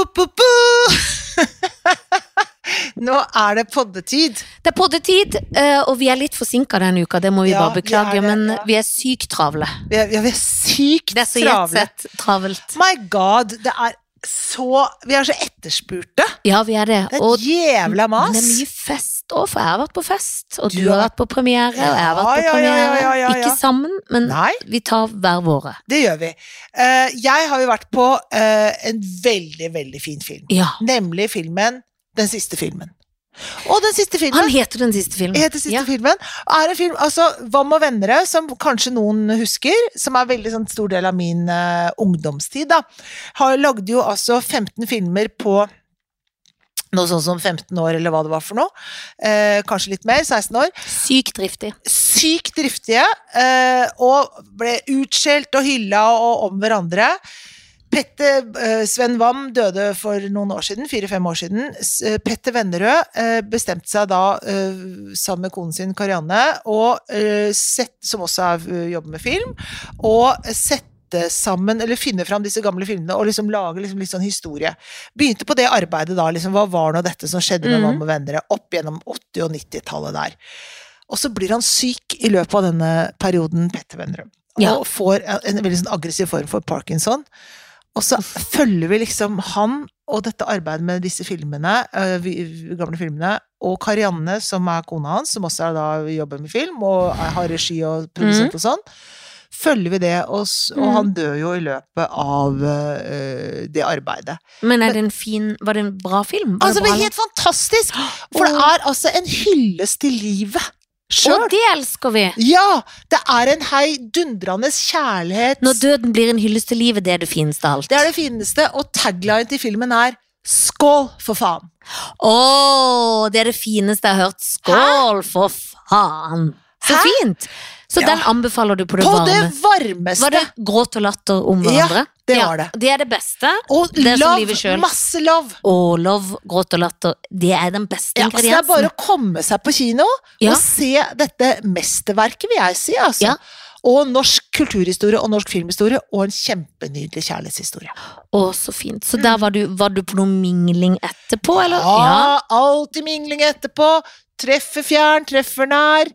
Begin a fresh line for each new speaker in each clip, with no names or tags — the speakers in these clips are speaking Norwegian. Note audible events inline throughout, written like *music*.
Apropos *laughs* Nå er det poddetid.
Det er poddetid, eh, og vi er litt forsinka denne uka, det må vi
Ja,
bare beklage,
vi er det,
men
ja.
vi er sykt travle.
Vi er, ja, vi er sykt
Det er så
travle.
jetsett travelt.
My god, det er så Vi er så etterspurte.
Ja, vi er det.
Det er
Og
et jævla mas.
det er mye fest òg, for jeg har vært på fest, og du,
Du
har
har-
vært på premiere, og jeg har vært på
Ja, ja, ja,
premiere.
ja, ja, ja.
Ikke sammen, men
Nei,
vi tar hver våre.
det gjør vi. Eh, jeg har jo vært på eh, en veldig, veldig fin film.
Ja.
Nemlig filmen Den siste filmen. Og den siste filmen
Han heter den siste filmen.
heter siste
ja.
filmen. Er en film, altså Vam og vennere, som kanskje noen husker, som er veldig sånn stor del av min eh, ungdomstid, da. Har, lagde jo altså 15 filmer på noe sånn som 15 år, eller hva det var for noe. Eh, kanskje litt mer, 16 år.
Sykt driftig.
Sykt driftige, eh, og ble utskjelt og hylla og om hverandre. Petter eh, Sven Wam døde for noen år siden, fire-fem år siden. S- eh, Petter Vennerød eh, bestemte seg da, eh, sammen med konen sin Karianne, og, eh, sett, som også er, eh, jobber med film, å sette sammen, eller finne fram disse gamle filmene og liksom lage liksom litt sånn historie. Begynte på det arbeidet da. liksom, Hva var nå dette som skjedde med
Mhm.
Wam og Vennerød opp gjennom 80- og 90-tallet der? Og så blir han syk i løpet av denne perioden, Petter Vennerød. Og
Ja.
får en, en veldig sånn aggressiv form for parkinson. Og så følger vi liksom han og dette arbeidet med disse filmene, eh, vi- vi- gamle filmene, og Karianne, som er kona hans, som også er da jobber med film, og er- har regi og produsent og sånn. Følger vi det, og, s- og
Mhm.
han dør jo i løpet av eh, det arbeidet.
Men er det en fin Var det en bra film? Var
Altså,
det
det
bra?
er helt *gasps* fantastisk! For det er altså en hyllest til livet sjøl.
Og det elsker vi!
Ja! Det er en heidundrende kjærlighet.
Når døden blir en hyllest til livet, det er det fineste av alt.
Det er det fineste, og tagline til filmen er 'Skål, for faen'.
Åh, det er det fineste jeg har hørt. Skål, for faen! Så
Hæ?
fint! Så
Ja.
den anbefaler du på det
På det
varme.
varmeste!
Var det gråt og latter om
Ja,
hverandre?
det var det.
Det er det beste.
og
det er som livet
love,
selv.
masse love!
Og love, gråt og latter, det er den beste
Ja, altså, det er
ingrediensen.
bare å komme seg på kino
Ja.
og se dette mesterverket, vil jeg si. Altså.
Ja.
Og norsk kulturhistorie og norsk filmhistorie, og en kjempenydelig kjærlighetshistorie.
Å, så fint. Så der var du, var du på noe mingling etterpå, eller? Ja.
Mm. Ja, alltid mingling etterpå. Treffer fjern, treffer nær.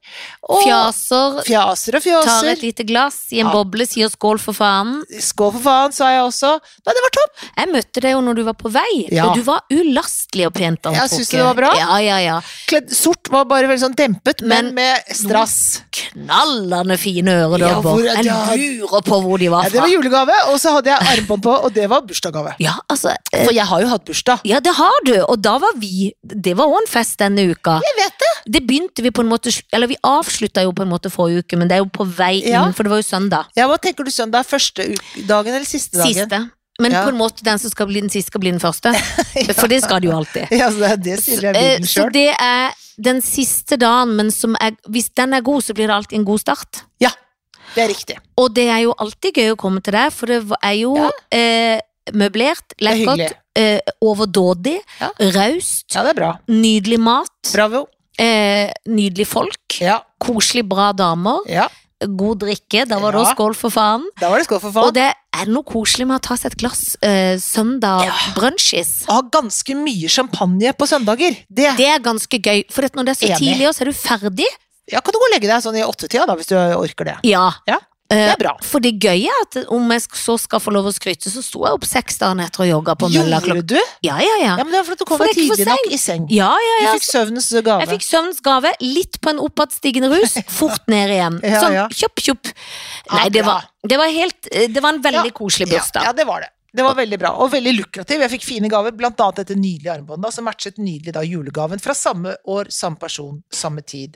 Og
Fjaser,
fjaser og
tar
fjaser.
et lite glass i en
Ja.
boble, sier skål for faen.
Skål for faen, sa jeg også. Nei, det var topp!
Jeg møtte deg jo når du var på vei,
Ja.
og du var ulastelig og pent
Jeg
antrukket.
synes det var bra.
Ja, ja, ja.
Kledd sort var bare veldig sånn dempet, men,
Men-
med strass.
knallende fine
Ja, hvor-
øredobber. Jeg
ja.
lurer på hvor de var
Ja, det
fra.
var julegave, og så hadde jeg armbånd på, og det var bursdagsgave.
Ja, altså eh,
For jeg har jo hatt bursdag.
Ja, det har du, og da var vi Det var òg en fest denne uka.
Jeg vet det!
Det begynte vi på en måte sl- Eller vi avslutta jo på en måte forrige uke, men det er jo på vei inn,
Ja.
for det var jo søndag.
Ja, Hva tenker du søndag? Første u- dagen eller siste dagen?
Siste. Men
Ja.
på en måte den som skal bli den siste, skal bli
*laughs*
den første. For det skal det jo alltid.
Ja, så det, *laughs* det sier jeg
Eh,
bibelen
Så
sjøl.
det er den siste dagen, men som er, hvis den er god, så blir det alltid en god start.
Ja, det er riktig.
Og det er jo alltid gøy å komme til deg, for det er jo
Ja.
eh, møblert,
er hyggelig.
lekkert, eh, overdådig,
Ja.
raust,
Ja, det er bra.
nydelig mat,
Bravo.
eh, nydelig folk,
Ja,
koselig, bra damer,
ja.
god drikke, da var det
Ja.
også skål for faen.
Da var det skål for
Og
faen.
det er noe koselig med å ta seg et glass eh, søndag
Ja.
brunchis.
Å ha ganske mye champagne på søndager, det,
Det er ganske gøy, for at når det er så
Enig.
tidlig, og så er du ferdig.
Ja, kan du gå og legge deg sånn i åttetida, da, hvis du orker det.
Ja.
Ja. Det
Eh,
er bra.
for det gøye er at om jeg sk- så skal få lov å skryte, så sto jeg opp seks dager etter og jogga på mølla klokka
Gjorde du?
Ja, ja, ja.
Ja, men det var fordi du kom
For
deg
det er ikke for
tidlig nok i seng.
Ja, ja,
Du
ja.
fikk søvnens gave.
Jeg fikk søvnens gave, litt på en
*laughs*
oppadstigende rus, fort ned igjen.
Ja,
Sånn,
ja.
kjopp, kjopp.
Ja,
Nei, det
bra.
var, det var helt eh, Det var en veldig
Ja,
koselig
Ja,
bursdag.
ja, det var det. Det var veldig bra, og veldig lukrativ. Jeg fikk fine gaver, blant annet dette nydelige armbåndet, som matchet nydelig da julegaven fra samme år, samme person, samme tid.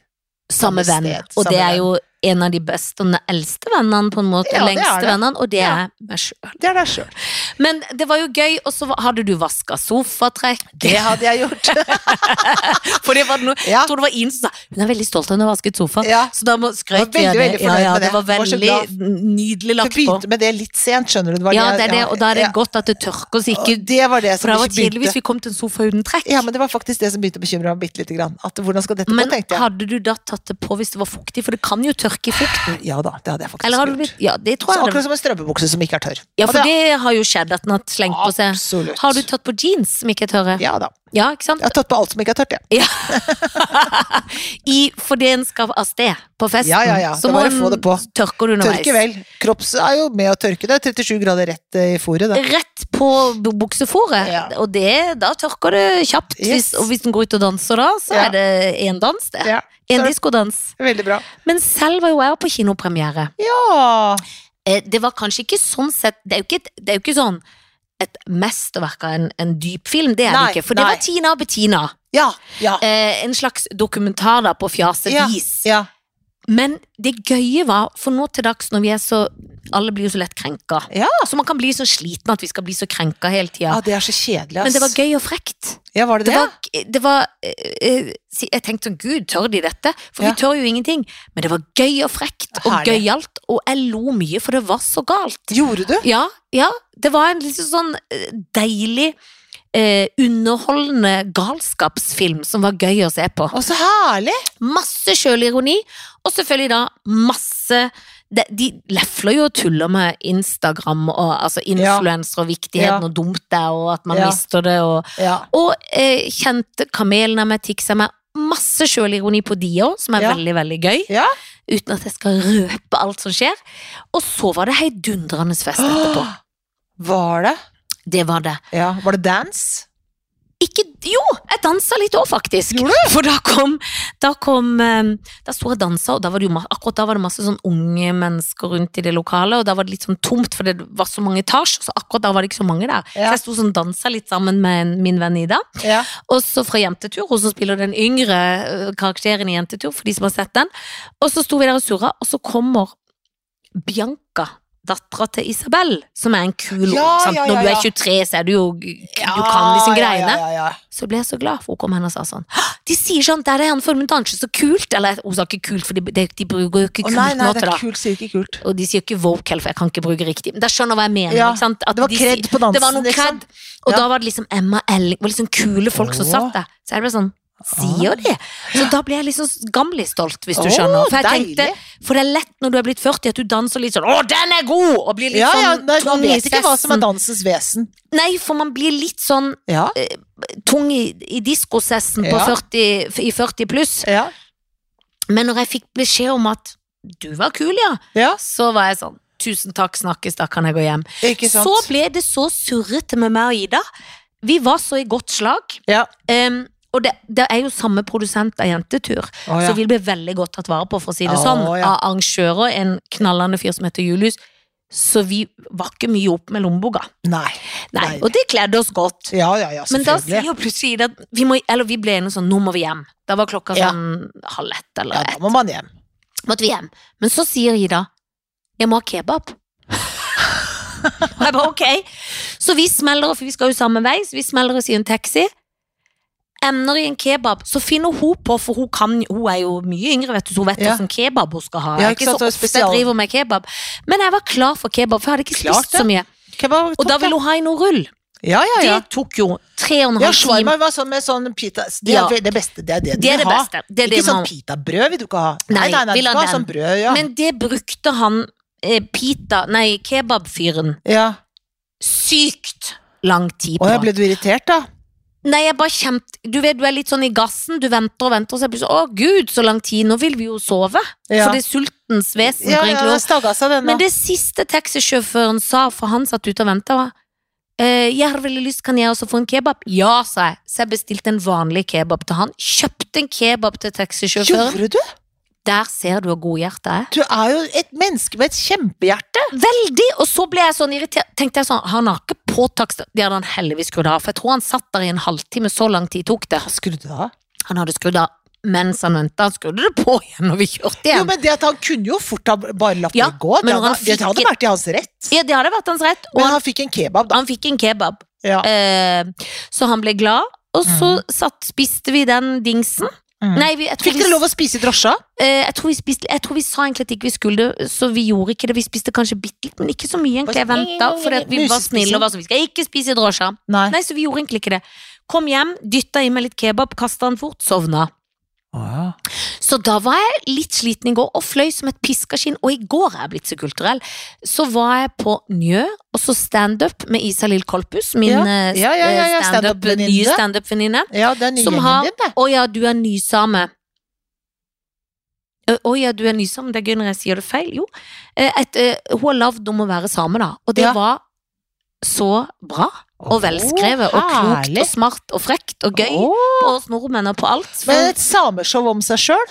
Samme
samme
venn.
sted,
Og
samme
det er
venn.
jo en av de beste og den eldste vennene, på en måte.
Ja, det er
lengste
det.
vennene, og det
Ja.
er meg sjøl.
Det er deg sjøl.
Men det var jo gøy, og så var- hadde du vaska sofatrekk.
Det hadde jeg gjort.
*laughs* For det var noe,
Ja.
jeg tror det var Ine som sa hun er veldig stolt av hun har vasket sofa.
Ja.
Så da må- skrøt vi
Jeg var
av
veldig, veldig
det. Ja,
fornøyd
ja,
med
det
det.
var
Var så
veldig
glad.
nydelig
Du
lagt på.
begynte med det litt sent, skjønner du. var
Ja, det er det, og da er det
ja.
godt at det tørker så ikke
Og det var det
For
som
det var
ikke
tidlig hvis
begynte.
vi kom til en sofa uten trekk.
Ja, men det var faktisk det som begynte å bekymre meg bitte lite grann. At hvordan skal dette gå,
Men
tenkte jeg.
hadde du da tatt det på hvis det var fuktig? For det kan jo tørke i fukten?
Ja da, det hadde jeg faktisk
Eller har du
gjort.
blitt Ja, det tror
Så
jeg.
akkurat
det-
som en strømpebukse som ikke er tørr.
Ja,
Og
for det har jo skjedd at den har slengt på seg.
Absolutt.
Har du tatt på jeans som ikke er tørre?
Ja da.
Ja, ikke sant?
Jeg har tatt på alt som ikke er tørt, jeg.
I, fordi en skal av sted på festen,
Ja, ja, ja.
så
Det
må
bare
en
få det på.
tørke det underveis.
Tørke vel. Kropps er jo med å tørke det. 37 grader rett eh, i fôret, det.
Rett på bu- buksefòret,
Ja.
og det, da tørker det kjapt. Hvis,
Yes.
og hvis en går ut og danser da, så
Ja.
er det en dans, det.
Ja.
En
så er det-
diskodans.
Veldig bra.
Men selv var jo jeg på kinopremiere.
Ja.
Eh, Det var kanskje ikke sånn sett Det er jo ikke, et- det er jo ikke sånn et mesterverk av en, en dyp film, det er
Nei,
det ikke. For det
nei.
var Tina og Bettina.
Ja. Ja.
Eh, en slags dokumentar da, på fjaset
Ja.
vis.
ja.
Men det gøye var, for nå til dags når vi er så Alle blir jo så lett krenka.
Ja.
Så man kan bli så sliten at vi skal bli så krenka hele tida.
Ja, det er så kjedelig, ass.
Men det var gøy og frekt.
Ja, var det
Det
det?
var, det var eh, eh, si- Jeg tenkte sånn, gud, tør de dette? For
Ja.
vi tør jo ingenting. Men det var gøy og frekt og
Herlig.
gøyalt, og jeg lo mye, for det var så galt.
Gjorde du?
Ja, ja. Det var en liksom sånn eh, deilig, eh, underholdende galskapsfilm som var gøy å se på.
Å, så herlig!
Masse sjølironi, og selvfølgelig da masse de, de lefler jo og tuller med Instagram og altså influenser og viktigheten
Ja.
og dumt det er, og at man
Ja.
mister det. Og,
Ja.
og eh, kjente kamelen av meg, tiksa meg. Masse sjølironi på de òg, som er
Ja.
veldig veldig gøy.
Ja.
Uten at jeg skal røpe alt som skjer. Og så var det heidundrende fest etterpå.
*gasps* Var det?
Det var det.
Ja. Var det dance?
Ikke, jo, jeg dansa litt òg, faktisk.
Gjorde
For da kom, da kom eh, Da sto jeg og dansa, og da var det jo, ma- akkurat da var det masse sånn unge mennesker rundt i det lokalet, og da var det litt sånn tomt, for det var så mange etasjer, så akkurat da var det ikke så mange der. Så
Ja.
jeg sto sånn og dansa litt sammen med en- min venn Ida.
Ja.
Og så fra Jentetur, hun som spiller den yngre eh, karakteren i Jentetur, for de som har sett den. Og så sto vi der og surra, og så kommer Bianca, dattera til Isabel, som er en kul
Ja,
sant?
ja,
Når
ja,
du
ja.
er 23, så er du jo Du kan liksom greiene.
Ja, ja, ja.
Så ble jeg så glad, for hun kom hen og sa sånn «Hå, De sier sånn, der er han formen dansje, så kult! Eller hun sa ikke kult, for de, de, de bruker jo ikke
Å,
kult
nei, nei,
nå
det
til
er
da.
kult, sier ikke kult.
Og de sier ikke woke heller, for jeg kan ikke bruke riktig. Men jeg skjønner hva jeg mener.
Ja,
ikke sant? At
Det var
de sier-
kred på dansen,
det var noe
liksom.
cred. Og
Ja.
da var det liksom Emma Elling Det var liksom kule folk som
Åh.
satt der. Så jeg ble sånn Sier de? Så da ble jeg liksom gamlisstolt, hvis du skjønner.
Åh,
For jeg
deilig.
tenkte For det er lett når du er blitt 40 at du danser litt sånn Å, den er god! Og blir litt
Ja, ja,
sånn
nei, man
Tony
vet ikke hva som
Sessen.
er dansens vesen.
Nei, for man blir litt sånn
Ja,
tung i, i diskosessen på
Ja.
40, i 40 pluss.
ja,
Men når jeg fikk beskjed om at du var kul, ja,
ja.
så var jeg sånn Tusen takk, snakkes, da kan jeg gå hjem.
Ikke sant?
Så ble det så surrete med meg og Ida. Vi var så i godt slag.
Ja.
Em, og det, det er jo samme produsent av Jentetur,
Å, ja.
så vi ble veldig godt tatt vare på, for å si
Å,
det sånn,
ja.
av arrangører, en knallende fyr som heter Julius. Så vi var ikke mye opp med lommeboka.
Nei.
Nei,
Nei.
og det kledde oss godt.
Ja, ja, ja,
Men da sier
selvfølgelig.
jo plutselig Ida at vi, må, eller vi ble enige sånn, nå må vi hjem. Da var klokka
Ja.
sånn halv ett eller
Ja, da må man hjem.
måtte vi hjem. Men så sier Ida jeg må ha kebab. og jeg bare ok. Så vi smeller, for vi skal jo samme vei, så vi smeller oss i en taxi. Emner i en kebab, så finner hun på, for hun, kan, hun er jo mye yngre, vet du, så hun vet
Ja.
hvordan kebab hun skal ha.
Ja,
Det er
ikke sant,
så
det er
ofte jeg
spesial.
driver med kebab. Men jeg var klar for kebab, for jeg hadde ikke
Klart
spist så
det.
mye.
Kebab,
Og da ville hun ha en rull.
Ja, ja, ja.
Det tok jo tre og en
Ja,
halv time.
shawarma var sånn med sånn pita Det er
Ja.
det beste, det er det du
Det er
vil
det
ha.
beste. Det er det
Ikke
man-
sånn pitabrød vil du ikke ha. Nei,
Nei,
nei, nei,
vil
du
ha
skal ha
den.
sånn brød, ja.
Men det brukte han eh, pita, nei, kebabfyren
ja.
sykt lang tid på.
Å, jeg ble du irritert, da?
Nei, jeg bare kjente Du vet, du er litt sånn i gassen, du venter og venter, og så er det plutselig Å, gud, så lang tid, nå vil vi jo sove.
Ja.
For det er sultens vesen.
Ja,
går
ja, det
egentlig også.
stagga seg, den,
Men
da.
det siste taxisjåføren sa, for han satt ute og venta, var «Eh, jeg har veldig lyst, kan jeg også få en kebab? Ja, sa jeg. Så jeg bestilte en vanlig kebab til han. Kjøpte en kebab til taxisjåføren.
Gjorde du?
Der ser du hvor godhjertet er.
Du er jo et menneske med et kjempehjerte.
Veldig! Og så ble jeg sånn irritert. Tenkte jeg sånn, Han har ikke påtakst Det hadde han heldigvis skrudd av, for jeg tror han satt der i en halvtime. Så lang tid tok det.
Han skrudde av.
Han hadde skrudd av mens han venta. Han skrudde det på igjen når vi kjørte
Jo,
igjen.
men det at han kunne jo fort ha bare latt
Ja,
det gå. Det
men når
hadde,
han
det hadde
fikk-
vært i hans rett.
Ja, Det hadde vært hans rett. Og
Men
han,
han fikk en kebab, da.
han fikk en kebab.
Ja.
Eh, så han ble glad, og så satt, spiste vi den dingsen.
Mm.
Nei, vi, jeg, tror
Fikk
vi,
dere lov å spise i drosja?
eh, jeg, tror vi spiste, jeg tror vi sa egentlig at ikke vi skulle det, så vi gjorde ikke det. Vi spiste kanskje bitte litt, men ikke så mye egentlig. Jeg venta, for vi var snille og var sånn Vi skal ikke spise i drosja.
Nei.
Nei, så vi gjorde egentlig ikke det. Kom hjem, dytta i meg litt kebab, kasta den fort, sovna.
Å ja.
Så da var jeg litt sliten i går og fløy som et piskeskinn. Og i går er jeg blitt så kulturell. Så var jeg på Njø, og så standup med Isalill Kolpus, min
Ja,
eh,
ja, ja, ja, ja,
standup-
standup-venninne.
nye standup-venninne.
ja, det er nye
Som
gjengen
har-
din, det.
Å ja, du er nysame. Ø, Å ja, du er nysame. Det er gøy når jeg sier det feil. Jo. Eh, Et, eh, hun har lagd om å være same, da. Og det
Ja.
var så bra.
Å,
Og velskrevet. Og klokt
herlig.
og smart og frekt og gøy.
Å,
På oss nordmenn og på alt.
men
For,
et sameshow om seg sjøl?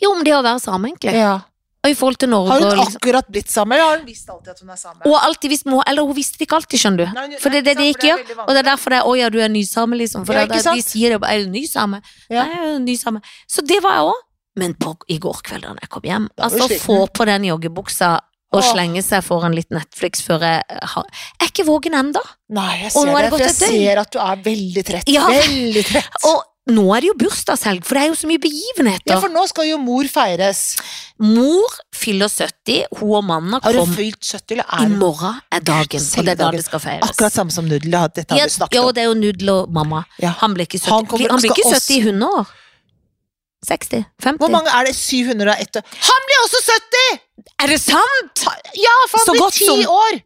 jo, om det å være same, egentlig. Og i forhold til Norge
Har
og
hun
liksom
akkurat blitt same, eller har hun visst alltid at hun er same?
Og alltid visst må, eller hun visste det ikke alltid, skjønner du.
Nei, hun-
For det er det
nei,
de
sant,
ikke gjør.
veldig
Og det
vanlig.
er derfor det er 'å ja, du er nysame', liksom. For
Ja,
det, er-
ikke
de
sant?
sier jo bare 'er du nysame'?
Ja.
Nei, jeg er nysame. Så det var jeg òg. Men på, i går kveld da jeg kom hjem,
Da var du
altså
sliten.
få på den joggebuksa
Åh.
og slenge seg foran litt Netflix før jeg har Jeg er ikke våken ennå.
Nei, jeg
Og nå
ser
har
det,
det
for jeg
gått et døgn.
ser at du er veldig trett.
Ja.
Veldig trett.
*laughs* Og nå er det jo bursdagshelg, for det er jo så mye begivenheter.
Ja, for nå skal jo mor feires.
Mor fyller 70, hun og mannen
Har hun
kom.
fylt 70, eller
I
er hun
morgen er dagen, og det er da
Selvdagen.
det skal feires.
akkurat samme som Nudel? det har- Dette har
Ja,
vi snakket
ja, og
om.
det er jo Nudel og mamma.
Ja.
Han blir ikke 70,
Han kommer-
han blir ikke
skal
70 i 100 år. 60? 50?
Hvor mange er det? 701? Han blir også 70!
Er det sant?!
Ja, for han
Så
blir
godt
10
som-
år!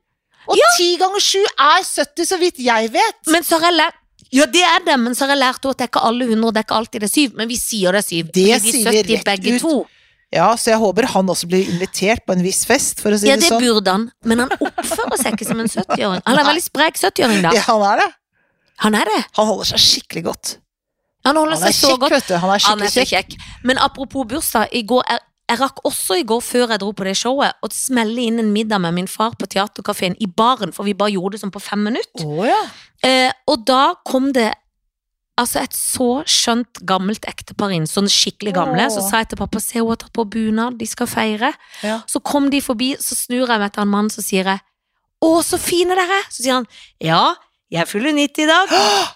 Og 10 ganger 7 er 70, så vidt jeg vet.
Men så har jeg lært ja, det er det, men så har jeg lært også at det er ikke alle 100, det er ikke alltid det er 7, men vi sier det er 7.
Det
fordi
sier vi
de er 70
rett
begge
ut.
to.
Ja, så jeg håper han også blir invitert på en viss fest, for å si
Ja,
det
det
sånn.
burde han, men han oppfører seg ikke som en 70-åring. Han er en veldig sprek 70-åring, da.
Ja, han er det.
Han er det.
Han holder seg skikkelig godt. Han
Han holder
er
seg så
kjekk,
godt.
vet du. Han er
Han
skikkelig
er så
kjekk.
kjekk. Men apropos bursdag, i går jeg, jeg rakk også i går før jeg dro på det showet, å smelle inn en middag med min far på teaterkafeen i baren, for vi bare gjorde det sånn på fem minutter.
Å ja.
Eh, og da kom det altså et så skjønt gammelt ektepar inn, sånn skikkelig gamle. Så
Åh.
sa jeg til pappa se hun har tatt på bunad, de skal feire.
Ja.
Så kom de forbi, så snur jeg meg til han mannen, så sier jeg å, så fine dere er. Så sier han ja, jeg fyller 90 i dag.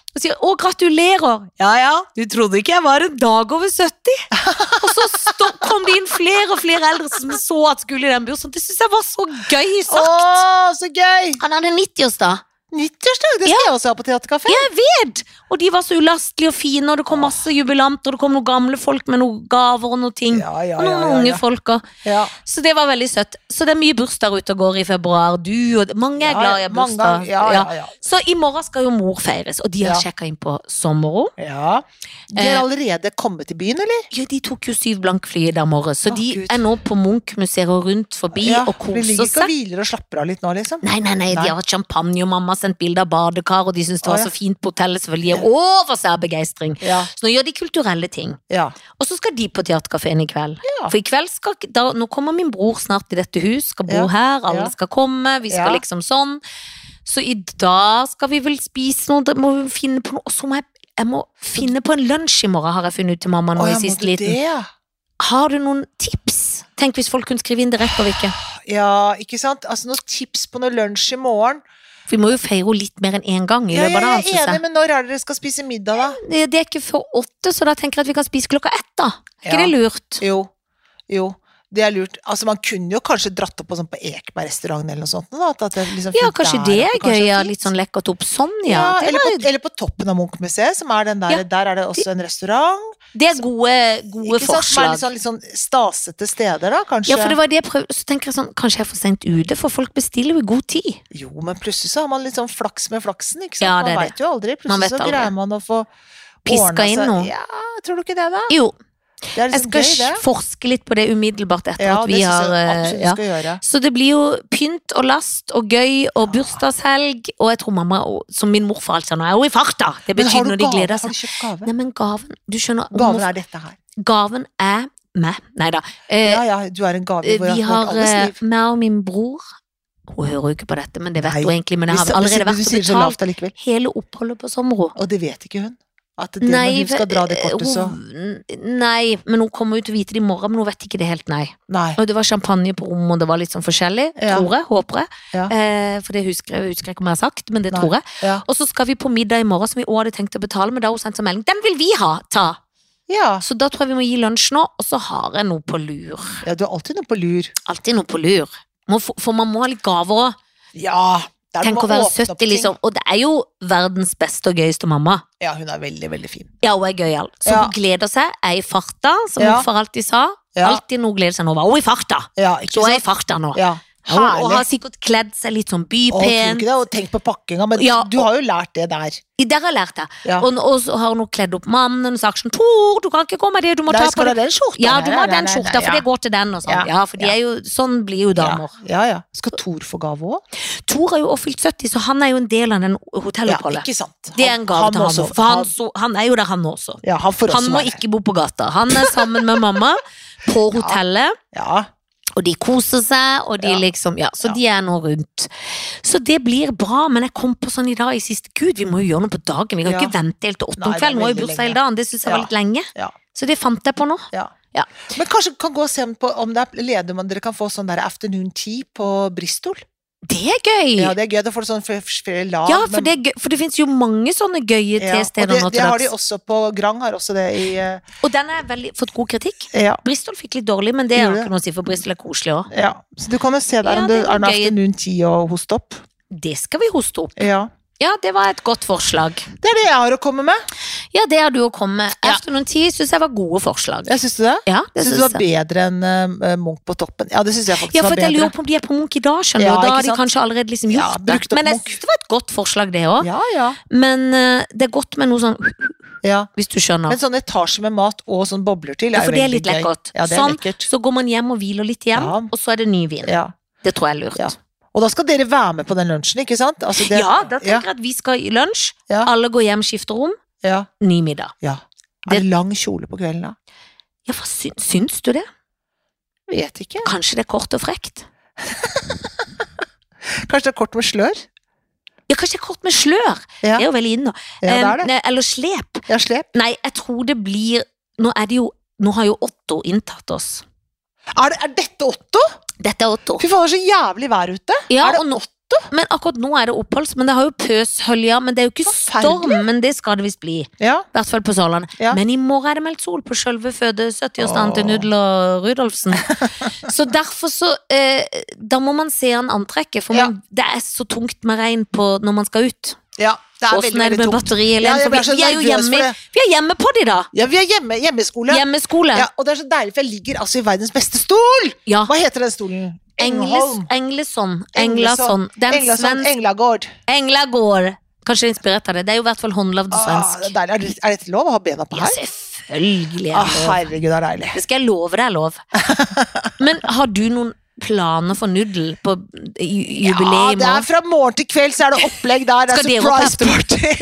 Og sier å, gratulerer. Ja ja, du trodde ikke jeg var en dag over 70. og så stå, kom det inn flere og flere eldre som så at skulle i den bursdagen. Det syns jeg var så gøy
Å,
sagt.
så gøy!
Han hadde 90-årsdag.
90-årsdag, det skal jeg også ha på teaterkafé.
Jeg vet! Og de var så ulastelige og fine, og det kom masse jubilanter, og det kom noen gamle folk med noen gaver og noen ting.
Ja, ja,
Og noen unge folk òg.
ja.
Så det var veldig søtt. Så det er mye bursdager ute og går i februar. Du og Mange er glad i å ha
mange
bursdag.
ganger- Ja, ja, ja.
Så i morgen skal jo mor feires, og de har
Ja.
sjekka inn på sommerrom.
Ja. De har
Eh,
allerede kommet til byen, eller?
Ja, de tok jo syv blank fly i dag morges, så
Å,
de
Gud.
er nå på Munch-museet og rundt forbi
Ja,
og
de ligger
koser
ikke og
seg.
hviler og slapper av litt nå, liksom?
Nei, nei, nei, de
Nei.
har hatt champagne, og mamma har sendt bilde av badekar, og de syns det
Å,
var
ja.
så fint på hotellet, så vel de er over seg av begeistring.
Ja,
Så nå gjør de kulturelle ting.
ja.
Og så skal de på teaterkafeen i kveld.
Ja.
For i kveld skal ikke- da, Nå kommer min bror snart i dette hus, skal bo
Ja.
her, alle
Ja.
skal komme, vi skal
Ja.
liksom sånn. Så i dag skal vi vel spise noe, da må vi finne på noe. Og så må jeg, jeg må finne på en lunsj i morgen, har jeg funnet ut til mamma nå
Å, ja,
i
må
siste
du
liten.
det, ja?
Har du noen tips? Tenk hvis folk kunne skrive inn, det rekker vi ikke.
Ja, ikke sant? Altså, noen tips på noe lunsj i morgen.
For vi må jo feire henne litt mer enn én gang i
Ja,
løpet
jeg
av dagen,
er
synes
enig,
jeg.
men når er det dere skal spise middag, da?
Det- Det er ikke før åtte, så da tenker jeg at vi kan spise klokka ett, da. Er ikke
Ja.
det lurt?
Jo, jo. Det er lurt. Altså, man kunne jo kanskje dratt opp på, sånn på Ekeberg-restauranten eller noe sånt. Da, at det er liksom
Ja,
fint
kanskje
der
det er
oppe, kanskje
gøy, ja.
fint.
Litt sånn lekkert opp sånn,
Ja,
ja. Det
eller,
var
på, eller på toppen av Munch-museet, som er den der.
Ja.
Der er det også en restaurant.
Det er gode, gode
Ikke sant? Som er
forslag.
litt sånn, litt sånn stasete steder, da, kanskje.
Ja, for det var det jeg prøvde. Så tenker jeg sånn, kanskje jeg er for sent ute, for folk bestiller jo i god tid.
Jo, men plutselig så har man litt sånn flaks med flaksen, ikke sant?
Ja, det er
man
det.
veit jo aldri.
Man
Plutselig
vet
så
aldri.
greier man å få
Piska
ordnet
inn
seg-
noe.
Ja, tror du ikke det, da?
Jo,
Det er
jeg
liksom
skal
gøy, det.
forske litt på det umiddelbart etter
Ja,
at
det
vi
syns jeg
har eh,
absolutt du
ja.
skal gjøre.
Så det blir jo pynt og last og gøy og bursdagshelg, og jeg tror mamma, og- som min morfar alltid sa, nå er hun i farta! Det
Men
betyr
har du,
når de
gave?
gleder
har
seg.
du kjøpt gave?
Nei, men gaven, du skjønner,
Gaven
morf-
er dette her.
gaven er meg. Nei da. Eh,
Ja, ja, du er en gave hvor
vi
jeg har
har,
vært alles
eh,
liv.
meg og min bror, hun hører jo ikke på dette, men det vet
Nei,
hun egentlig, men jeg
Hvis-
har
hvis
allerede
ikke
vært
du
og
sier så
betalt
lavt allikevel.
hele oppholdet på sommerro.
Og det vet ikke hun. At det, når hun skal dra det kortet, så
eh, hun- Nei, men hun kommer jo til å vite det i morgen, men hun vet ikke det helt, nei.
Nei.
Og det var champagne på rommet, og det var litt sånn forskjellig,
Ja.
tror jeg, håper jeg.
Ja.
Eh, for det husker jeg, husker jeg ikke om jeg har sagt, men det
Nei.
tror jeg.
Ja.
Og så skal vi på middag i morgen, som vi også hadde tenkt å betale, men da har hun sendt seg melding. Den vil vi ha, ta!
ja.
Så da tror jeg vi må gi lunsj nå, og så har jeg noe på lur.
ja, du har alltid noe på lur.
Alltid noe på lur. Må få, for man må ha litt gaver òg.
Ja. Der du
Tenk
må
å være
åpne opp
70,
ting.
liksom. Og det er jo verdens beste og gøyeste mamma.
Ja, hun er veldig, veldig fin.
Ja, hun er gøyal. Så
Ja.
hun gleder seg, er i farta, som
Ja.
hun for alltid sa.
Ja,
Alltid noe hun gleder seg nå. Hun er i farta!
ja ikke
Så hun er
sant?
i farta nå.
Ja,
Hun, og har
herlig.
sikkert kledd seg litt sånn
Og, tror
bypen.
ikke det, og tenk på pakkinga, men
Ja,
du har jo lært det der.
Der har jeg lært det.
Ja.
Og, og så har hun kledd opp mannen og sagt sånn Tor, du kan ikke komme med det, du må
Nei,
ta på
skal du ha
deg
den skjorta?
Ja,
Nei,
du
nei,
må ha
nei,
den
nei,
skjorta,
nei,
for
ja.
det går til den og sånn.
Ja.
Ja, for de
Ja.
er jo, sånn blir jo damer.
Ja, ja. Skal Thor få gave òg?
Tor er jo også fylt 70, så han er jo en del av den hotelloppholdet.
ikke sant.
det er en gave til
må
han
også-
også, for han,
han-
så, han er jo der, han også.
Ja, han får
Han
også
må
være
ikke bo på gata. Han er sammen med mamma på hotellet,
*laughs* Ja,
og de koser seg, og de
Ja.
liksom Ja, så
Ja.
de er nå rundt. Så det blir bra, men jeg kom på sånn i dag i siste Gud, vi må jo gjøre noe på dagen. Vi kan
Ja.
ikke vente helt til åtte
Nei,
om
det er
kvelden. Nå har jo
veldig
bursdag
lenge.
hele dagen, det syns jeg var
Ja.
litt lenge.
Ja.
Så det fant jeg på nå.
ja.
Ja.
Men kanskje kan gå og se på om det er leder man dere kan få sånn der afternoon tea på Bristol.
Det er gøy!
Ja, det er gøy. Da får du sånn flere flere lag.
Ja, for
men-
det, er gøy- for det finnes jo mange sånne gøye
Ja, og
testeder nå
det, det
til
har de
dags.
også på Grand, har også det i eh,
Og den har veldig- fått god kritikk.
Ja.
Bristol fikk litt dårlig, men det har
Gjorde det?
ikke noe å si, for Bristol er koselig òg.
ja. Så du kan jo se der
Ja,
om
det
det
var
er noe
gøy.
afternoon tea og host opp.
Det skal vi hoste opp.
Ja.
Ja, det var et godt forslag.
Det er det jeg har å komme med.
Ja, det har du å komme med.
Ja.
Afternoon Tea syns jeg var gode forslag.
Jeg Syns du det?
Ja,
Syns
det
du
synes
det var
jeg.
bedre enn eh, Munch på toppen? Ja, det syns jeg faktisk
Ja, for
var
jeg
bedre.
lurer på om de er på Munch i dag, skjønner du.
Ja,
og Da
ikke
har de
sant?
kanskje allerede liksom
Ja,
gjort det.
brukt opp
Men jeg
Munch.
syns det var et godt forslag, det òg.
Ja, ja.
Men eh, det er godt med noe sånn
ja.
Hvis du skjønner.
Men sånn etasje med mat og sånn bobler til
Ja,
er
for
jo
det er
veldig gøy.
litt lekkert.
Ja, det er
Sånn.
lekkert.
Så går man hjem og hviler litt igjen,
Ja.
og så er det ny vin.
Ja.
Det tror jeg er lurt.
Ja. Og da skal dere være med på den lunsjen, ikke sant? Altså, det,
ja, da
ja,
tenker jeg at vi skal i lunsj.
Ja.
Alle går hjem, skifter rom.
ja,
Ny middag.
ja. Er det lang kjole på kvelden da?
Ja, hva sy syns du det?
Vet ikke.
Kanskje det er kort og frekt?
Kanskje det er kort med slør?
Ja, kanskje det er kort med slør?
Ja,
Det er jo veldig inn nå.
ja det er
Eh,
det.
nei, Eller slep.
Ja, slep.
Nei, jeg tror det blir Nå er det jo Nå har jo Otto inntatt oss.
Er, det, er dette Otto?
Dette er Otto.
Fy faen, det er så jævlig vær ute.
Ja,
er det
og nå, men akkurat nå er det oppholds, men det har jo pøshølja, men det er jo ikke storm, men det skal det visst bli.
Ja,
I hvert fall på Sørlandet.
Ja.
Men i morgen er det meldt sol på sjølve føde 70-årsdagen til
Åh.
Nudel
*laughs*
og Rudolfsen. så derfor så eh, Da må man se han antrekket, for
Ja.
man, det er så tungt med regn på når man skal ut.
ja det er
Åssen
veldig,
er det
veldig
med
tungt.
batteriet
Ja,
igjen?
jeg
For
blir så
vi, vi er
nervøs
jo
for
hjemme,
det.
vi er hjemme på de, da!
Ja, vi er hjemme, hjemmeskole.
Hjemmeskole.
Ja, og det er så deilig, for jeg ligger altså i verdens beste stol!
Ja.
Hva heter den stolen?
Engles, Engleson.
Engleson.
Englason. Det er en
Englasson,
svensk
Englagård.
Englagård. Kanskje inspirert av det. Det er jo i hvert fall håndlagd
Ah, det
svensk.
er, deilig. er, det, er dette lov å ha bena på
Ja,
her?
selvfølgelig.
Ah,
er det lov.
herregud, det er deilig.
Det skal jeg love deg er
*laughs*
lov. Men har du noen planer for nudel på ju-
Ja,
jubileet i
det er
morgen?
fra morgen til kveld, så er det opplegg der. Det er
Skal dere
surprise party.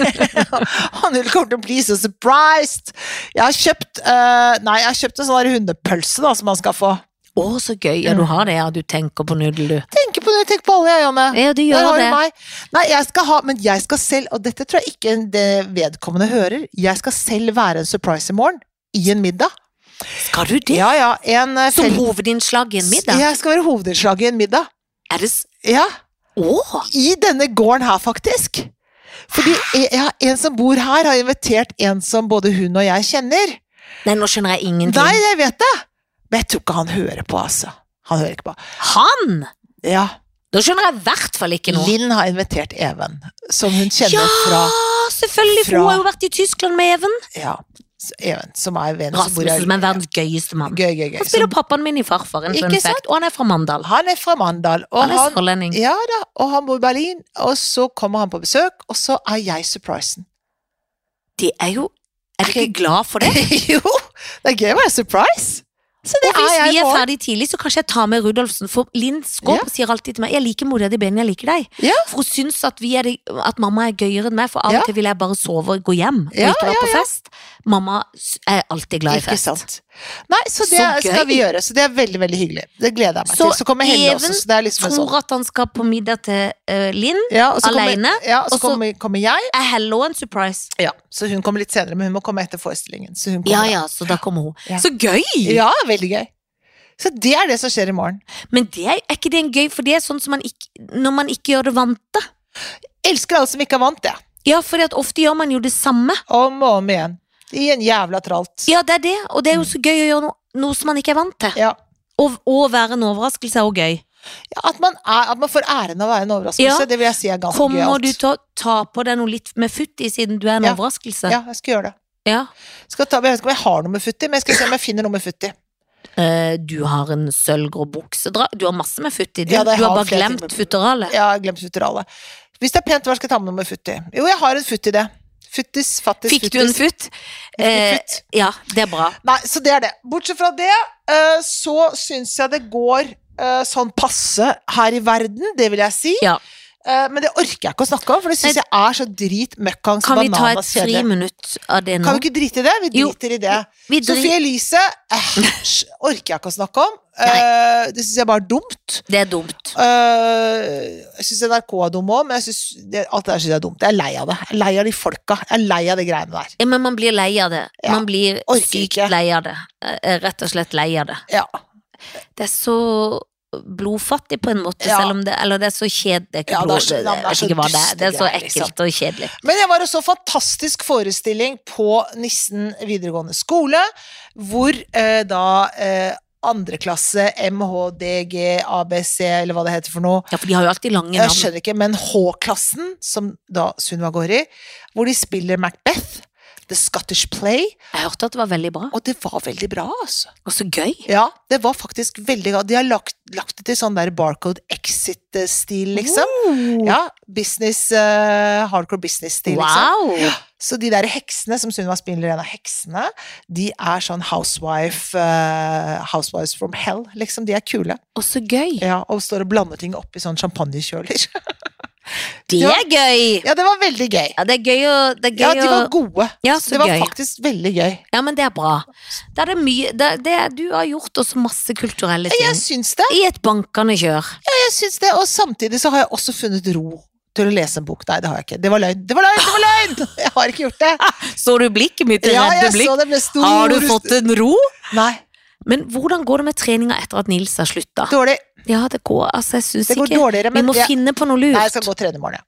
*laughs* Han vil kommer til å bli så surprised. Jeg har kjøpt eh, Nei, jeg har kjøpt en sånn der hundepølse da, som han skal få.
Å, så gøy. Ja, du
Mm.
har det, ja. Du tenker på nudel, du.
Tenk på det, tenk på alle, jeg, Janne.
Ja, du
Der
gjør
har du
det.
meg. Nei, jeg skal ha, men jeg skal selv, og dette tror jeg ikke det vedkommende hører, jeg skal selv være en surprise i morgen. I en middag.
Skal du det?
Ja, ja. En eh,
Som
felles-
hovedinnslag i en middag?
Jeg skal være hovedinnslaget i en middag.
Er det s...
Ja.
Å!
i denne gården her, faktisk. Fordi jeg, jeg, har- en som bor her, har invitert en som både hun og jeg kjenner.
Nei, nå skjønner jeg
Nei,
ingenting.
jeg vet det! Men jeg tror ikke han hører på, altså. Han hører ikke på.
Han!
Ja.
Da skjønner jeg i hvert fall ikke noe.
Linn har invitert Even, som hun kjenner
Ja,
fra
selvfølgelig! For
fra-
hun har jo vært i Tyskland med Even.
ja, så Even, som er venn som bor
Rasmus,
her.
som er verdens gøyeste mann.
Gøy, gøy, gøy.
Han spiller pappaen min i Farfaren,
Ikke
fun fact. Og han er fra Mandal.
Så han er fra Mandal, og
Han
han,
er sørlending.
ja da, og han bor i Berlin. Og så kommer han på besøk, og så er jeg
*laughs*
surprisen. *laughs*
Det er jo Er du ikke glad
*laughs*
for det?
jo! Det er gøy å være surprise! Så det
Og hvis
er jeg
vi
i
er
morgen.
ferdig tidlig, så kanskje jeg tar med Rudolfsen. For Linn Skåp sier alltid til meg 'Jeg liker mora di bedre enn jeg liker deg'.
Ja.
For hun syns at, vi er de, at mamma er gøyere enn meg, for av og
Ja.
til vil jeg bare sove og gå hjem. Og
Ja,
ikke være på fest. Mamma s- er alltid glad i
Ikke
fest.
sant. Nei, så det
Så gøy.
skal vi gjøre. Så det er veldig, veldig hyggelig. Det gleder jeg meg
Så
til. Så kommer Helle også.
Even
Så det er liksom en sånn.
Tror at han skal på middag til eh, Linn.
Ja, og så
alene,
Kommer, ja, og så
og så-
kommer, kommer jeg.
Er Hello en surprise?
Ja, så hun kommer litt senere, men hun må komme etter forestillingen. Så hun
Ja
kommer.
ja, så da kommer hun.
Ja.
Så gøy!
ja, veldig gøy. Så det er det som skjer i morgen.
Men det er, er ikke det en gøy, for det er sånn som man ikke, når man ikke gjør det vante.
Elsker alle som ikke er vant, jeg.
Ja, for ofte gjør man jo det samme.
Om og om igjen. I en jævla tralt.
Ja, det er det, og det er jo så gøy å gjøre noe, noe som man ikke er vant til.
Ja.
Og, og være en overraskelse er også gøy.
Ja, at, man er, at man får æren av å være en overraskelse,
Ja.
det vil jeg si er ganske
Kommer
gøyalt.
du til å ta på deg noe litt med futt i, siden du er en
Ja.
overraskelse?
Ja, jeg skal gjøre det.
Ja.
Skal ta, jeg vet ikke om jeg har noe med futti, men jeg skal se om jeg finner noe med futti.
Eh, du har en sølvgrå buksedra Du har masse med futt i. Du,
Ja, det
du har
har
bare
flere ting
glemt
med-
futteralet.
Jeg har glemt futteralet. Hvis det er pent, hva skal jeg ta med noe med futti? Jo, jeg har en futti, det. Futtis, fattis,
Fikk du en
futtis.
futt?
Jeg fikk
Eh,
futt.
ja, det er bra.
Nei, så det er det. Bortsett fra det, eh, så syns jeg det går eh, sånn passe her i verden, det vil jeg si.
Ja.
Eh, Men det orker jeg ikke å snakke om, for det syns
Nei.
jeg er så drit møkkans
Kan vi ta et
bananas kjedelig.
friminutt av det nå?
Kan vi ikke drite i det? Vi
Jo.
driter i det.
Vi dri-
Sophie Elise eh, sj, orker jeg ikke å snakke om. Eh, det syns jeg bare er dumt.
Det er dumt.
Eh, jeg syns NRK er dum òg, men jeg synes, det, alt det der syns jeg er dumt. Jeg er lei av det. Jeg er lei av de folka. Jeg er lei av de greiene der.
Ja, men man blir lei av det.
Ja.
Man blir
Orker
sykt
ikke.
lei av det. Eh, Rett og slett lei av det.
Ja.
Det er så blodfattig på en måte,
Ja.
selv om det Eller det er så kjedelig. Det er ikke
Ja, det er
blod,
så-
det,
ja, men det er
jeg vet
så
ikke hva det er. Det er
dystre
så
greier, liksom.
ekkelt og kjedelig.
Men jeg var og så fantastisk forestilling på Nissen videregående skole, hvor eh, da eh, andreklasse MHDG ABC, eller hva det heter for noe,
Ja, for de har jo alltid lange
jeg
navn.
skjønner ikke, men H-klassen, som da Sunniva går i, hvor de spiller Macbeth, The Scottish Play,
Jeg hørte at det var veldig bra.
og det var veldig bra, altså.
Og så gøy.
Ja, det var faktisk veldig bra. De har lagt, lagt det til sånn der Barcode Exit-stil, liksom.
Oh.
Ja, business, eh, hardcore business-stil, liksom.
Wow!
Så de der heksene som Sunniva spiller, en av heksene, de er sånn housewife eh, Housewives from hell, liksom. De er kule.
Og så gøy.
Ja, og står og blander ting opp i sånn champagnekjøler. *laughs*
Det
Ja.
er gøy!
ja, det var veldig gøy.
Ja, det er gøy å det er gøy
Ja, de var
å-
gode.
Ja,
det
så
var
gøy.
faktisk veldig gøy.
Ja, men det er bra. Da er det mye det, det, Du har gjort også masse kulturelle ting.
Jeg syns det.
I et bankende kjør.
jeg syns det. Og samtidig så har jeg også funnet ro til å lese en bok. Nei, det har jeg ikke. Det var løgn. Det var løgn! Det var
*laughs*
løgn! Jeg har ikke gjort det.
Så du blikket mitt? det
Ja, jeg
redde blikk?
så det ble stor
Har du fått en ro?
Nei.
Men hvordan går det med treninga etter at Nils har slutta?
Dårlig.
Ja, det går altså, jeg syns
Det går
ikke
dårligere,
Vi
men
må
det-
finne på noe lurt.
Nei, jeg skal gå og trene i morgen, jeg.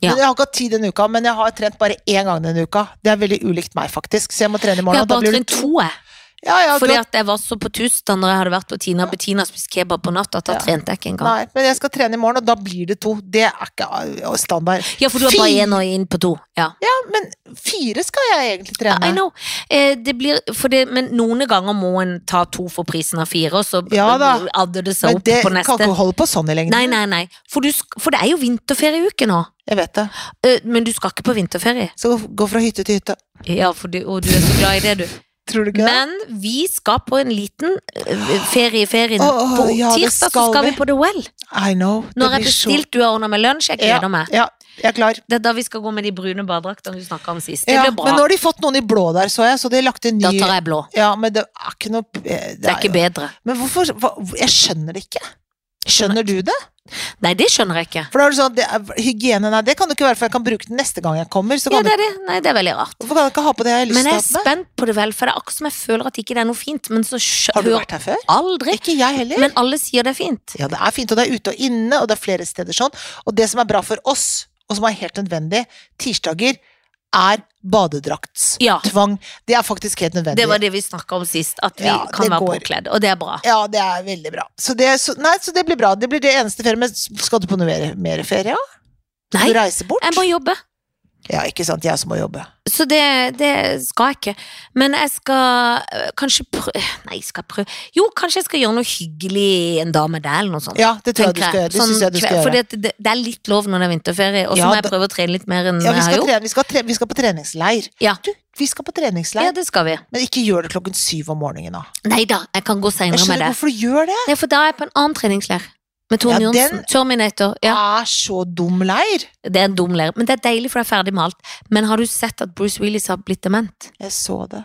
Ja.
Men Jeg har ikke hatt tid denne uka, men jeg har trent bare én gang denne uka. Det er veldig ulikt meg, faktisk. Så jeg må trene i
jeg
morgen.
har
og da
bare
blir det
trent to, jeg.
Ja, ja, du
Fordi
har-
at jeg var så på tusten når jeg hadde vært på Tina Bettina og spist kebab på natta, at da
Ja.
trente jeg ikke engang.
Nei, men jeg skal trene i morgen, og da blir det to. Det er ikke uh, standard.
Ja, for du er bare
Fy!
én og inn på to. Ja.
Ja, men fire skal jeg egentlig
I
trene.
know. Eh, det blir, for det, men noen ganger må en ta to for prisen av fire, og så
Ja da.
adder det seg
Men
opp
det
på
kan
neste.
ikke holde på sånn i lengden.
Nei, nei, nei. For, du, sk- for det er jo vinterferieuke nå.
Jeg vet det.
Eh, Men du skal ikke på vinterferie.
Skal gå fra hytte til hytte.
Ja, for du, og du er så glad i det, du.
Tror du ikke det?
Men vi skal på en liten eh, ferie i ferien.
Åh, åh,
på
ja, det
tirsdag
skal
så skal vi
vi.
på The Well.
I know. det
Når jeg
blir så-
bestilt, du har ordna med lunsj, jeg
ja,
gleder meg.
Ja, jeg er klar.
Det er da vi skal gå med de brune badedraktene du snakka om sist. Det
Ja,
blir
men nå
bra.
har de fått noen i blå der, så jeg, så de har lagt en ny
Da tar jeg blå.
Ja, men det er ikke noe Det
Det er ikke bedre.
Men hvorfor hva, Jeg skjønner det ikke. Skjønner du det?
Nei, det skjønner jeg ikke.
For da er det sånn at det er, Hygiene, nei, det kan det ikke være, for jeg kan bruke den neste gang jeg kommer. Så
Ja,
kan
det
jeg-
er det. Nei, det er veldig rart.
hvorfor kan jeg ikke ha på det jeg har lyst
Men
til å
jeg
ha
er
på meg?
spent på det vel, for det er akkurat som jeg føler at ikke det er noe fint, men så skjø-
Har du
hører
vært her før?
aldri.
Ikke jeg heller.
Men alle sier det er fint.
ja, det er fint, og det er ute og inne, og det er flere steder sånn. Og det som er bra for oss, og som er helt nødvendig, tirsdager er badedraktstvang.
Ja,
Det er faktisk helt nødvendig.
det var det vi snakka om sist, at vi
Ja,
kan
det
være
går.
påkledd, og det er bra.
Ja, det er veldig bra. Så det, så, nei, så det blir bra. Det blir det eneste ferie. Men skal du på noe mer, mer ferie? Ja?
Nei,
Skal du reise bort?
jeg må jobbe.
Ja, ikke sant. Jeg som må jobbe.
Så det, det skal jeg ikke. Men jeg skal øh, kanskje prøve Nei, skal jeg prøve Jo, kanskje jeg skal gjøre noe hyggelig en dag med deg, eller noe sånt.
Ja, det tror jeg du
tenker
skal gjøre. Det
Sånn
synes jeg du skal
kve-
gjøre.
fordi at det, det er litt lov når det er vinterferie, og så
Ja,
må jeg
da-
prøve å trene litt mer
Ja,
enn
vi
jeg har
skal,
gjort.
trene, vi, skal tre, vi skal på treningsleir.
Ja.
Du, vi skal på
Ja,
treningsleir.
det skal vi.
Men ikke gjør det klokken syv om morgenen, da.
Nei da, jeg kan gå
Jeg
seinere med
skjønner
det.
hvorfor du gjør det.
Nei, for da er jeg på en annen treningsleir. Med
Ja,
Tone
den- Ah.
Johnsen. Terminator.
Det
Ja,
er så dum leir.
det er en dum leir. Men det er deilig, for jeg er ferdig med alt. Men har du sett at Bruce Willis har blitt dement?
Jeg så det.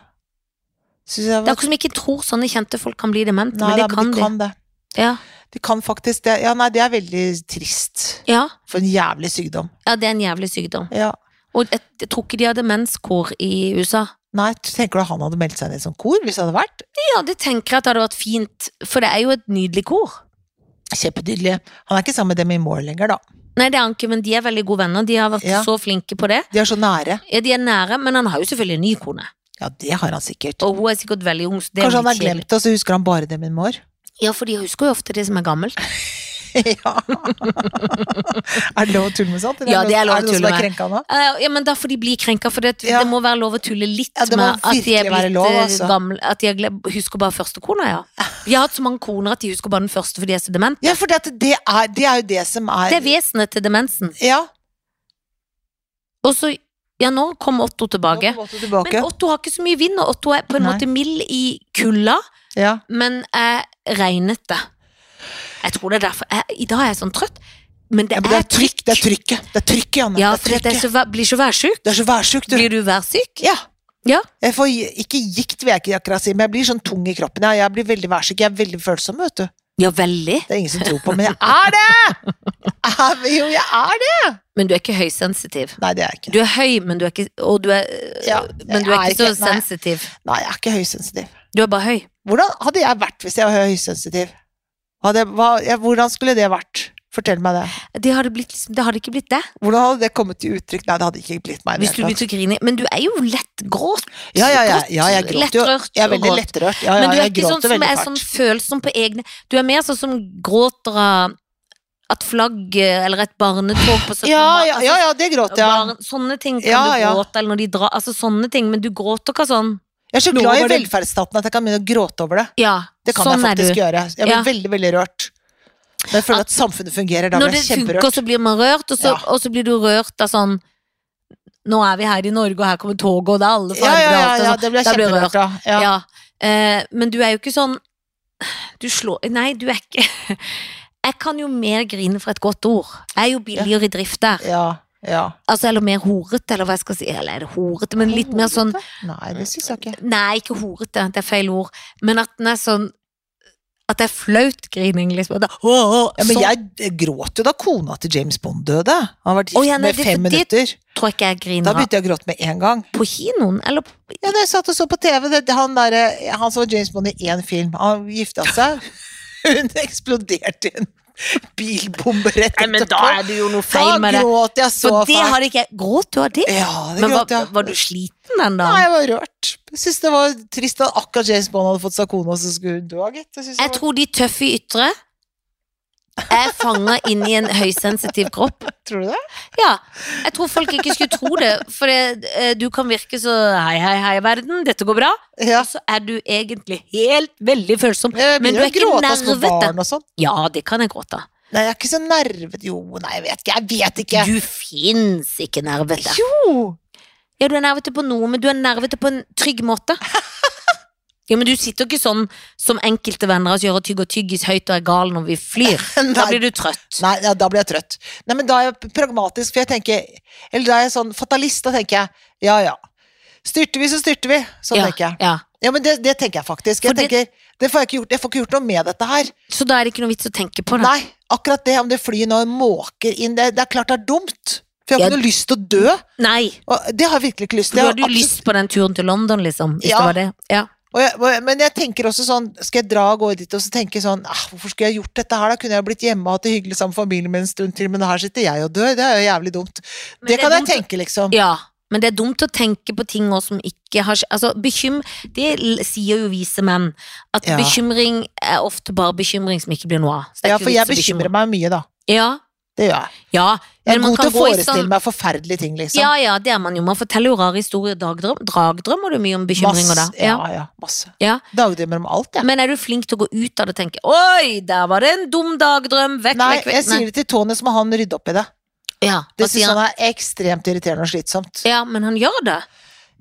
Synes jeg
Det er
var...
akkurat som jeg ikke tror sånne kjente folk kan bli demente,
Nei,
men
da,
det kan
men de
de.
kan det.
Ja.
De kan faktisk det. Ja, nei, det er veldig trist.
Ja.
For en jævlig sykdom.
ja, det er en jævlig sykdom.
Ja.
Og jeg, jeg tror ikke de har demenskor i USA.
Nei, tenker du han hadde meldt seg inn i et sånt kor hvis det hadde vært?
Ja, det tenker jeg at det hadde vært fint, for det er jo et nydelig kor.
Kjempedydelig. Han er ikke sammen med Demi Moore lenger, da.
Nei, det er han ikke, men de er veldig gode venner. De har vært
Ja.
så flinke på det.
De er så nære.
Ja, de er nære, men han har jo selvfølgelig en ny kone.
Ja, det har han sikkert.
Og hun er sikkert veldig ung. Så det
Kanskje han
litt
har
kjedelig.
glemt det, og så husker han bare Demi Moore.
Ja, for de husker jo ofte det som er gammelt.
*laughs* ja. er det lov å tulle med sånt? eller
Ja, det er lov å
noen som
tulle
er
med.
krenka nå?
Eh, Ja, men da får de bli krenka, for det,
Ja.
det må være lov å tulle litt
Ja, det må
med at de er
virkelig være
blitt
lov,
eh,
altså.
gamle. At de har glem- husker bare første kona, ja. Vi har hatt så mange koner at de husker bare den første fordi de er så dement.
Ja, for det, det, er, det er jo det som er
Det er vesenet til demensen.
Ja.
Og så, ja, nå kom Otto tilbake.
nå måtte du tilbake.
Men Otto har ikke så mye vind, og Otto er på en
Nei.
måte mild i kulda,
ja.
men er regnete. Jeg tror det er derfor jeg, I dag er jeg sånn trøtt, men det,
ja, men det
er
er trykk. Det er trykket. Det er trykket, Janne.
Ja,
det
for
er
det er
trykket.
så, væ- blir så værsjuk.
Det er så værsjuk, du.
Blir du værsyk?
Ja.
Ja.
Jeg får gi- ikke gikt, vil jeg ikke akkurat si, men jeg blir sånn tung i kroppen. Jeg, jeg blir veldig værsjuk. Jeg er veldig følsom, vet du.
Ja, veldig.
Det er ingen som tror på, men jeg er det! Er, jo, jeg er det!
Men du er ikke høysensitiv.
Nei, det er jeg ikke.
Du er høy, men du er ikke, og du er, øh,
Ja,
men du er
jeg
ikke
er
så
ikke- nei.
sensitiv.
Nei, jeg er ikke høysensitiv.
Du er bare høy.
Hvordan hadde jeg vært hvis jeg var høysensitiv? Hadde, jeg- hva, jeg, hvordan skulle det vært? Fortell meg det.
Det hadde, blitt, liksom- det hadde ikke blitt det.
Hvordan hadde det kommet til uttrykk? Nei, det hadde ikke blitt meg. i det
Hvis du
hele tatt.
begynte å grine. Men du er jo lett gråt.
ja, ja, ja, ja, jeg
grått,
gråter jo.
lettrørt
Jeg er veldig
og gråt.
lettrørt. Ja, ja,
Men du er
jeg
ikke sånn
gråter
som
veldig
er sånn følsom på egne Du er mer sånn som gråter av at flagg eh, eller et barnetog på 17.
Ja,
mai,
ja,
Altså,
ja, ja, det gråter jeg.
Barn, sånne ting kan
Ja,
du
ja.
gråte, eller når de drar Altså sånne ting, men du gråter ikke av sånn
Jeg er så
Nå
glad i
var det-
velferdsstaten at jeg kan begynne å gråte over det.
Ja,
Det kan
sånn
jeg faktisk
er du.
gjøre. Jeg blir
Ja.
veldig, veldig rørt. Når jeg føler at, samfunnet fungerer, da
Når
blir
det
jeg
funker,
kjemperørt.
så blir man rørt, og så,
Ja.
og så blir du rørt av sånn Nå er vi her i Norge, og her kommer toget, og det er alle
Ja,
farger
ja,
og
ja,
alt, og
ja,
sånn.
det blir jeg
Da blir jeg
kjemperørt av. Ja.
Ja. Eh, men du er jo ikke sånn Du slår Nei, du er ikke *laughs* Jeg kan jo mer grine for et godt ord. Jeg er jo billigere i drift der.
Ja, ja.
Altså, eller mer horete, eller hva jeg skal si. Eller er det horete, men litt mer sånn
Nei, det syns jeg ikke.
Nei, ikke horete, det er feil ord. Men at den er sånn At det er flaut grining, liksom. Og da, å, å,
Ja, men
sånn
jeg gråt jo da kona til James Bond døde. Han har vært
Å,
gift
ja, nei,
med
det er
fem
fordi-
minutter.
tror jeg ikke jeg
Da
griner av.
begynte jeg å gråte med en gang.
På kinoen, eller på-
Ja, da jeg satt og så på TV, det, han, der, eh, han så James Bond i én film. Han gifta
*laughs*
seg. Hun eksploderte i en bilbombe rett
Nei, men da er det jo noe feil med
Da
det.
gråt jeg så
For det
fælt.
hadde ikke jeg Gråt du av det?
Ja, det
Men
gråt
var,
jeg.
var du sliten den dagen?
Nei, jeg var rørt. Jeg synes det var trist at akkurat James Bond hadde fått seg kone, og så skulle hun dø, gitt. Jeg synes det
Jeg
var-
tror de tøffe ytre er fanga inni en høysensitiv kropp.
Tror du det?
Ja, Jeg tror folk ikke skulle tro det, for det, eh, du kan virke så hei, hei, hei, verden, dette går bra.
Ja.
Og så er du egentlig helt veldig følsom.
Jeg
Men
begynner
du er
å
ikke
gråte av små barn
nervete.
og sånn.
Ja, det kan jeg gråte av.
Nei, jeg er ikke så nervet Jo, nei, jeg vet ikke. Jeg vet ikke.
Du fins ikke nervete.
Jo!
Ja, du er nervete på noe, men du er nervete på en
*laughs*
trygg måte. Ja, men Du sitter jo ikke sånn som enkelte venner av oss gjør og tygger tyggis høyt og er gal når vi flyr.
*laughs*
Da
Nei.
blir du trøtt.
Nei, ja, da blir jeg trøtt. Nei, men da er jeg pragmatisk, for jeg tenker Eller da er jeg sånn fatalist, da tenker jeg ja ja. Styrter vi, så styrter vi. Sånn
ja,
tenker jeg.
ja.
Ja, men det, det tenker jeg faktisk. Jeg
For det-
tenker, det får jeg ikke gjort. Jeg får ikke gjort noe med dette her.
Så da er det ikke noe vits å tenke på det.
Nei, akkurat det om det flyet nå måker inn, det, det er klart det er dumt. For jeg har
Ja.
ikke noe lyst til å dø.
Nei,
Og det har jeg virkelig ikke lyst
for
til. Jeg
du hadde jo
har absolutt-
lyst på den turen til London, liksom. Hvis
Ja.
det var det. Ja.
og jeg, og jeg, men jeg tenker også sånn, skal jeg dra og gå dit og så tenke sånn, ah, hvorfor skulle jeg gjort dette her da? Kunne jeg blitt hjemme og hatt det hyggelig sammen med familien min en stund til, men her sitter jeg og dør. Det er jo jævlig dumt. Det
Men det er
kan jeg
dumt å-
tenke, liksom.
ja. Men det er dumt å tenke på ting også som ikke har skj- Altså, bekym... Det l- sier jo vise menn. At
Ja.
bekymring er ofte bare bekymring som ikke blir noe av. Så det er
Ja,
ikke
for
vits
jeg
å bekymre.
bekymrer meg mye, da.
Ja.
Det gjør jeg.
ja.
Jeg er
Men man
god til
kan
å
gå i
forestille
sånn-
meg forferdelige ting, liksom.
Ja, ja, det er man jo. Man forteller jo rare historier. Dagdrøm, dragdrømmer du mye om bekymringer da?
Masse- ja, ja, masse.
Ja.
Dagdrømmer om alt, jeg.
Men er du flink til å gå ut av det og tenke 'oi, der var det en dum dagdrøm', vekk,
Nei,
vekk, vekk.
jeg sier det til Tony, så må han rydde opp i det.
ja,
Det
hva sier
syns
han?
han er ekstremt irriterende og slitsomt.
Ja, men han gjør det.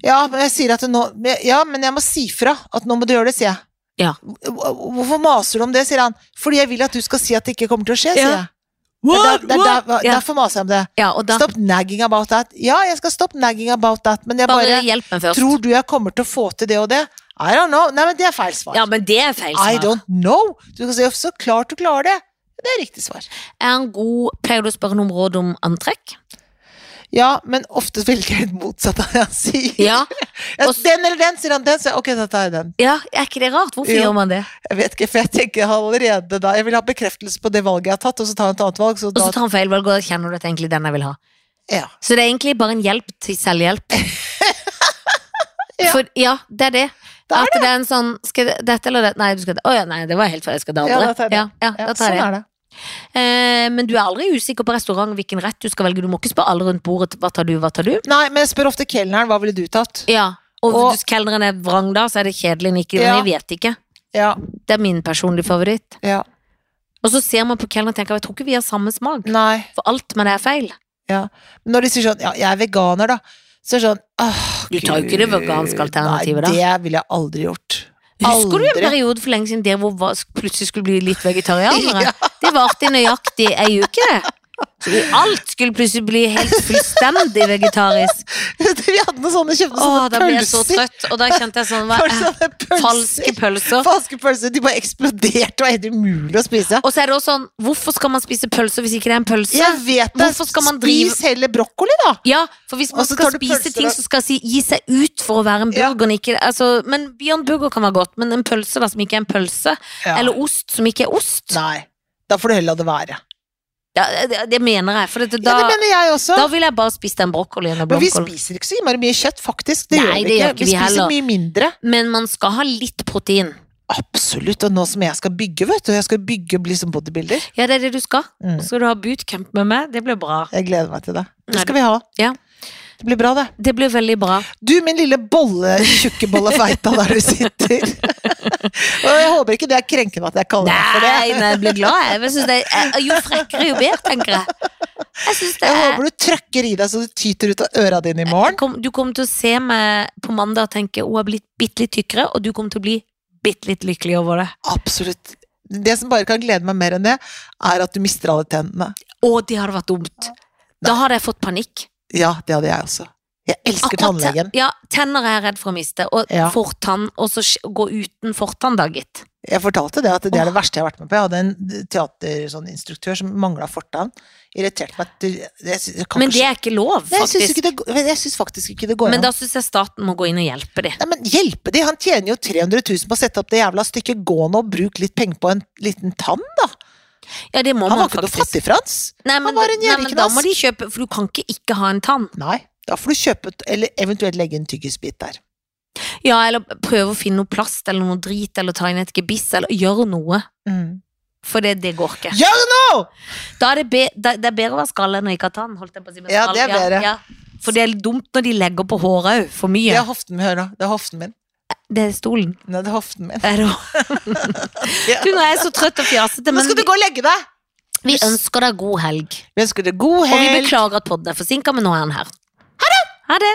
Ja, men jeg sier at nå men- Ja, men jeg må si fra at nå må du gjøre det, sier jeg.
Ja.
Hvor- Hvorfor maser du om det, sier han. Fordi jeg vil at du skal si at det ikke kommer til å skje, sier
Ja.
jeg. Det er, der, det er der,
Ja.
derfor maser jeg om det.
Ja, og da
Stop nagging about that. Ja, jeg skal stoppe nagging about that, men jeg
bare,
bare
hjelp meg først.
Tror du jeg kommer til å få til det og det? I don't know. Nei, men det er feil svar.
Ja, men det er feil
I
svar.
don't know. Du skal si så klart du klarer det. Det er riktig svar.
Er han god Pleier du å spørre noe om råd om antrekk?
Ja, men ofte velger jeg helt motsatt av det han sier.
Ja.
Ja,
og s-
den eller den, sier han. Den, sier jeg, ok, da tar jeg den.
ja er ikke det rart? Hvorfor
Jo.
gjør man det?
Jeg vet ikke, for jeg tenker allerede da Jeg vil ha bekreftelse på det valget jeg har tatt, og så ta et annet valg. Så
Og
da,
så tar han feil valg, og da kjenner du at det er egentlig den jeg vil ha.
ja.
Så det er egentlig bare en hjelp til selvhjelp.
*laughs* Ja.
For, ja, det er det.
Det er
at det. er en sånn Skal jeg dette eller det? Nei, du skal det. Å ja, nei, det var helt feil. Jeg skal det
Ja,
andre.
da tar jeg det.
Ja, ja,
ja,
da tar jeg
sånn er
det.
det.
Eh, men du er aldri usikker på restaurant hvilken rett du skal velge. Du må ikke spørre alle rundt bordet hva tar du, hva tar du.
Nei, men jeg spør ofte kelneren hva ville du tatt.
Ja, Og,
Og-
hvis kelneren er vrang da, så er det kjedelig. men Ikke,
Ja.
Jeg vet ikke.
Ja,
Det er min personlige favoritt.
ja.
Og så ser man på kelneren og tenker jeg tror ikke vi har samme smak.
Nei.
For alt med det er feil.
Når de sier sånn ja, jeg er veganer, da, så er det sånn åh,
Du tar jo ikke det
Gud,
veganske alternativet,
Nei, det ville jeg aldri gjort.
Husker du
Aldri.
en periode for lenge siden der hvor var- plutselig skulle bli litt *laughs* vegetarianere?
Ja.
Det varte i nøyaktig ei uke. Så alt skulle plutselig bli helt fullstendig vegetarisk.
*laughs* vi hadde noen sånne kjøpte
Åh,
sånne
da ble jeg *laughs* så
pølser.
trøtt, og da kjente jeg sånn hva,
Bare sånne pølser.
*laughs* Falske pølser.
Falske pølser. De bare eksploderte og var helt umulig å spise.
Og så er det også sånn, hvorfor skal man spise pølser hvis ikke det er en pølse? Ja,
Jeg vet det.
Hvorfor skal man drive-
Spis heller brokkoli, da.
for hvis
Og
man
så
skal
tar du
spise
pølser
ting
og-
som skal si, gi seg ut for å være en
Ja.
burger, men ikke, altså, men Beyond Burger kan være godt, men en pølse da som ikke er en pølse,
Ja.
eller ost som ikke er ost,
Nei. Da får du heller la det være.
ja, det, det mener jeg, for det,
ja,
da,
det mener jeg også.
da vil jeg bare spise den brokkolien og
Men vi
blomkålen.
spiser ikke så innmari mye kjøtt, faktisk. Det gjør
Nei, det
vi
gjør
ikke.
ikke
Vi
vi
spiser
heller.
mye mindre.
Men man skal ha litt protein.
Absolutt. Og nå som jeg skal bygge, vet du. Jeg skal bygge og bli som bodybuilder.
Ja, det er det du skal.
Mm.
Så skal du ha bootcamp med meg. Det blir bra.
Jeg gleder meg til det.
Nei,
Det skal vi ha.
ja.
Det blir bra, det.
Det blir veldig bra.
Du, min lille bolle, tjukke
*laughs*
bolle feita der du sitter. *laughs* og jeg håper ikke det er krenkende at jeg kaller deg for
Nei,
det.
nei, jeg blir glad. Jeg. Jeg synes det er, jo frekkere, jo bedre, tenker jeg. Jeg synes
Jeg
det er
håper du trøkker i deg så du tyter ut av øra dine i morgen.
kom, Du kommer til å se meg på mandag og tenke hun har blitt bitte litt tykkere, og du kommer til å bli bitte litt lykkelig over det.
Absolutt. Det som bare kan glede meg mer enn det, er at du mister alle tennene.
Å, det hadde vært dumt. Da hadde jeg fått panikk.
Ja, det hadde jeg også. Jeg elsker
Akkurat te-
tannlegen.
Ja, tenner er jeg redd for å miste, og
Ja.
fortann, og så sk- gå uten fortann, da, gitt.
Jeg fortalte det at det er det verste jeg har vært med på. Jeg hadde en teaterinstruktør som mangla fortann. Irriterte meg til jeg synes, jeg kan
Men
ikke
det er ikke lov,
Nei, jeg syns
faktisk.
ikke det går- Jeg syns faktisk ikke det går
Men
an.
da syns jeg staten må gå inn og hjelpe dem.
Nei, men hjelpe de! Han tjener jo 300 000 på å sette opp det jævla stykket. Gå nå og bruk litt penger på en liten tann, da!
Ja, det må
Han var
man
ikke noe
faktisk.
fattigfrans!
Nei, men,
var en
nei, men da
gjerdeknask.
må de kjøpe, for du kan ikke ikke ha en tann.
Nei, da får du kjøpe et, eller eventuelt legge en tyggisbit der.
Ja, eller prøve å finne noe plast eller noe drit, eller ta inn et gebiss, eller gjøre noe.
Mm.
For det, det går ikke.
Gjør noe!
Da er det, be, da, det er bedre å være skalle enn å ikke ha tann, holdt jeg på å si. men
Ja,
skall-
det er bedre.
Ja, For det er dumt når de legger på håret òg, for
Det
mye.
er hoften min, hør da. Det er hoften min.
Det er stolen.
Nei, det er hoften min.
Er det- *laughs*
Ja.
Du, nå er jeg så trøtt og fjasete,
Nå
men
skal du
vi,
gå og legge deg!
vi ønsker deg god helg.
Vi ønsker deg god
Og vi
helg.
beklager at podden er forsinka, men nå er han her. Ha det!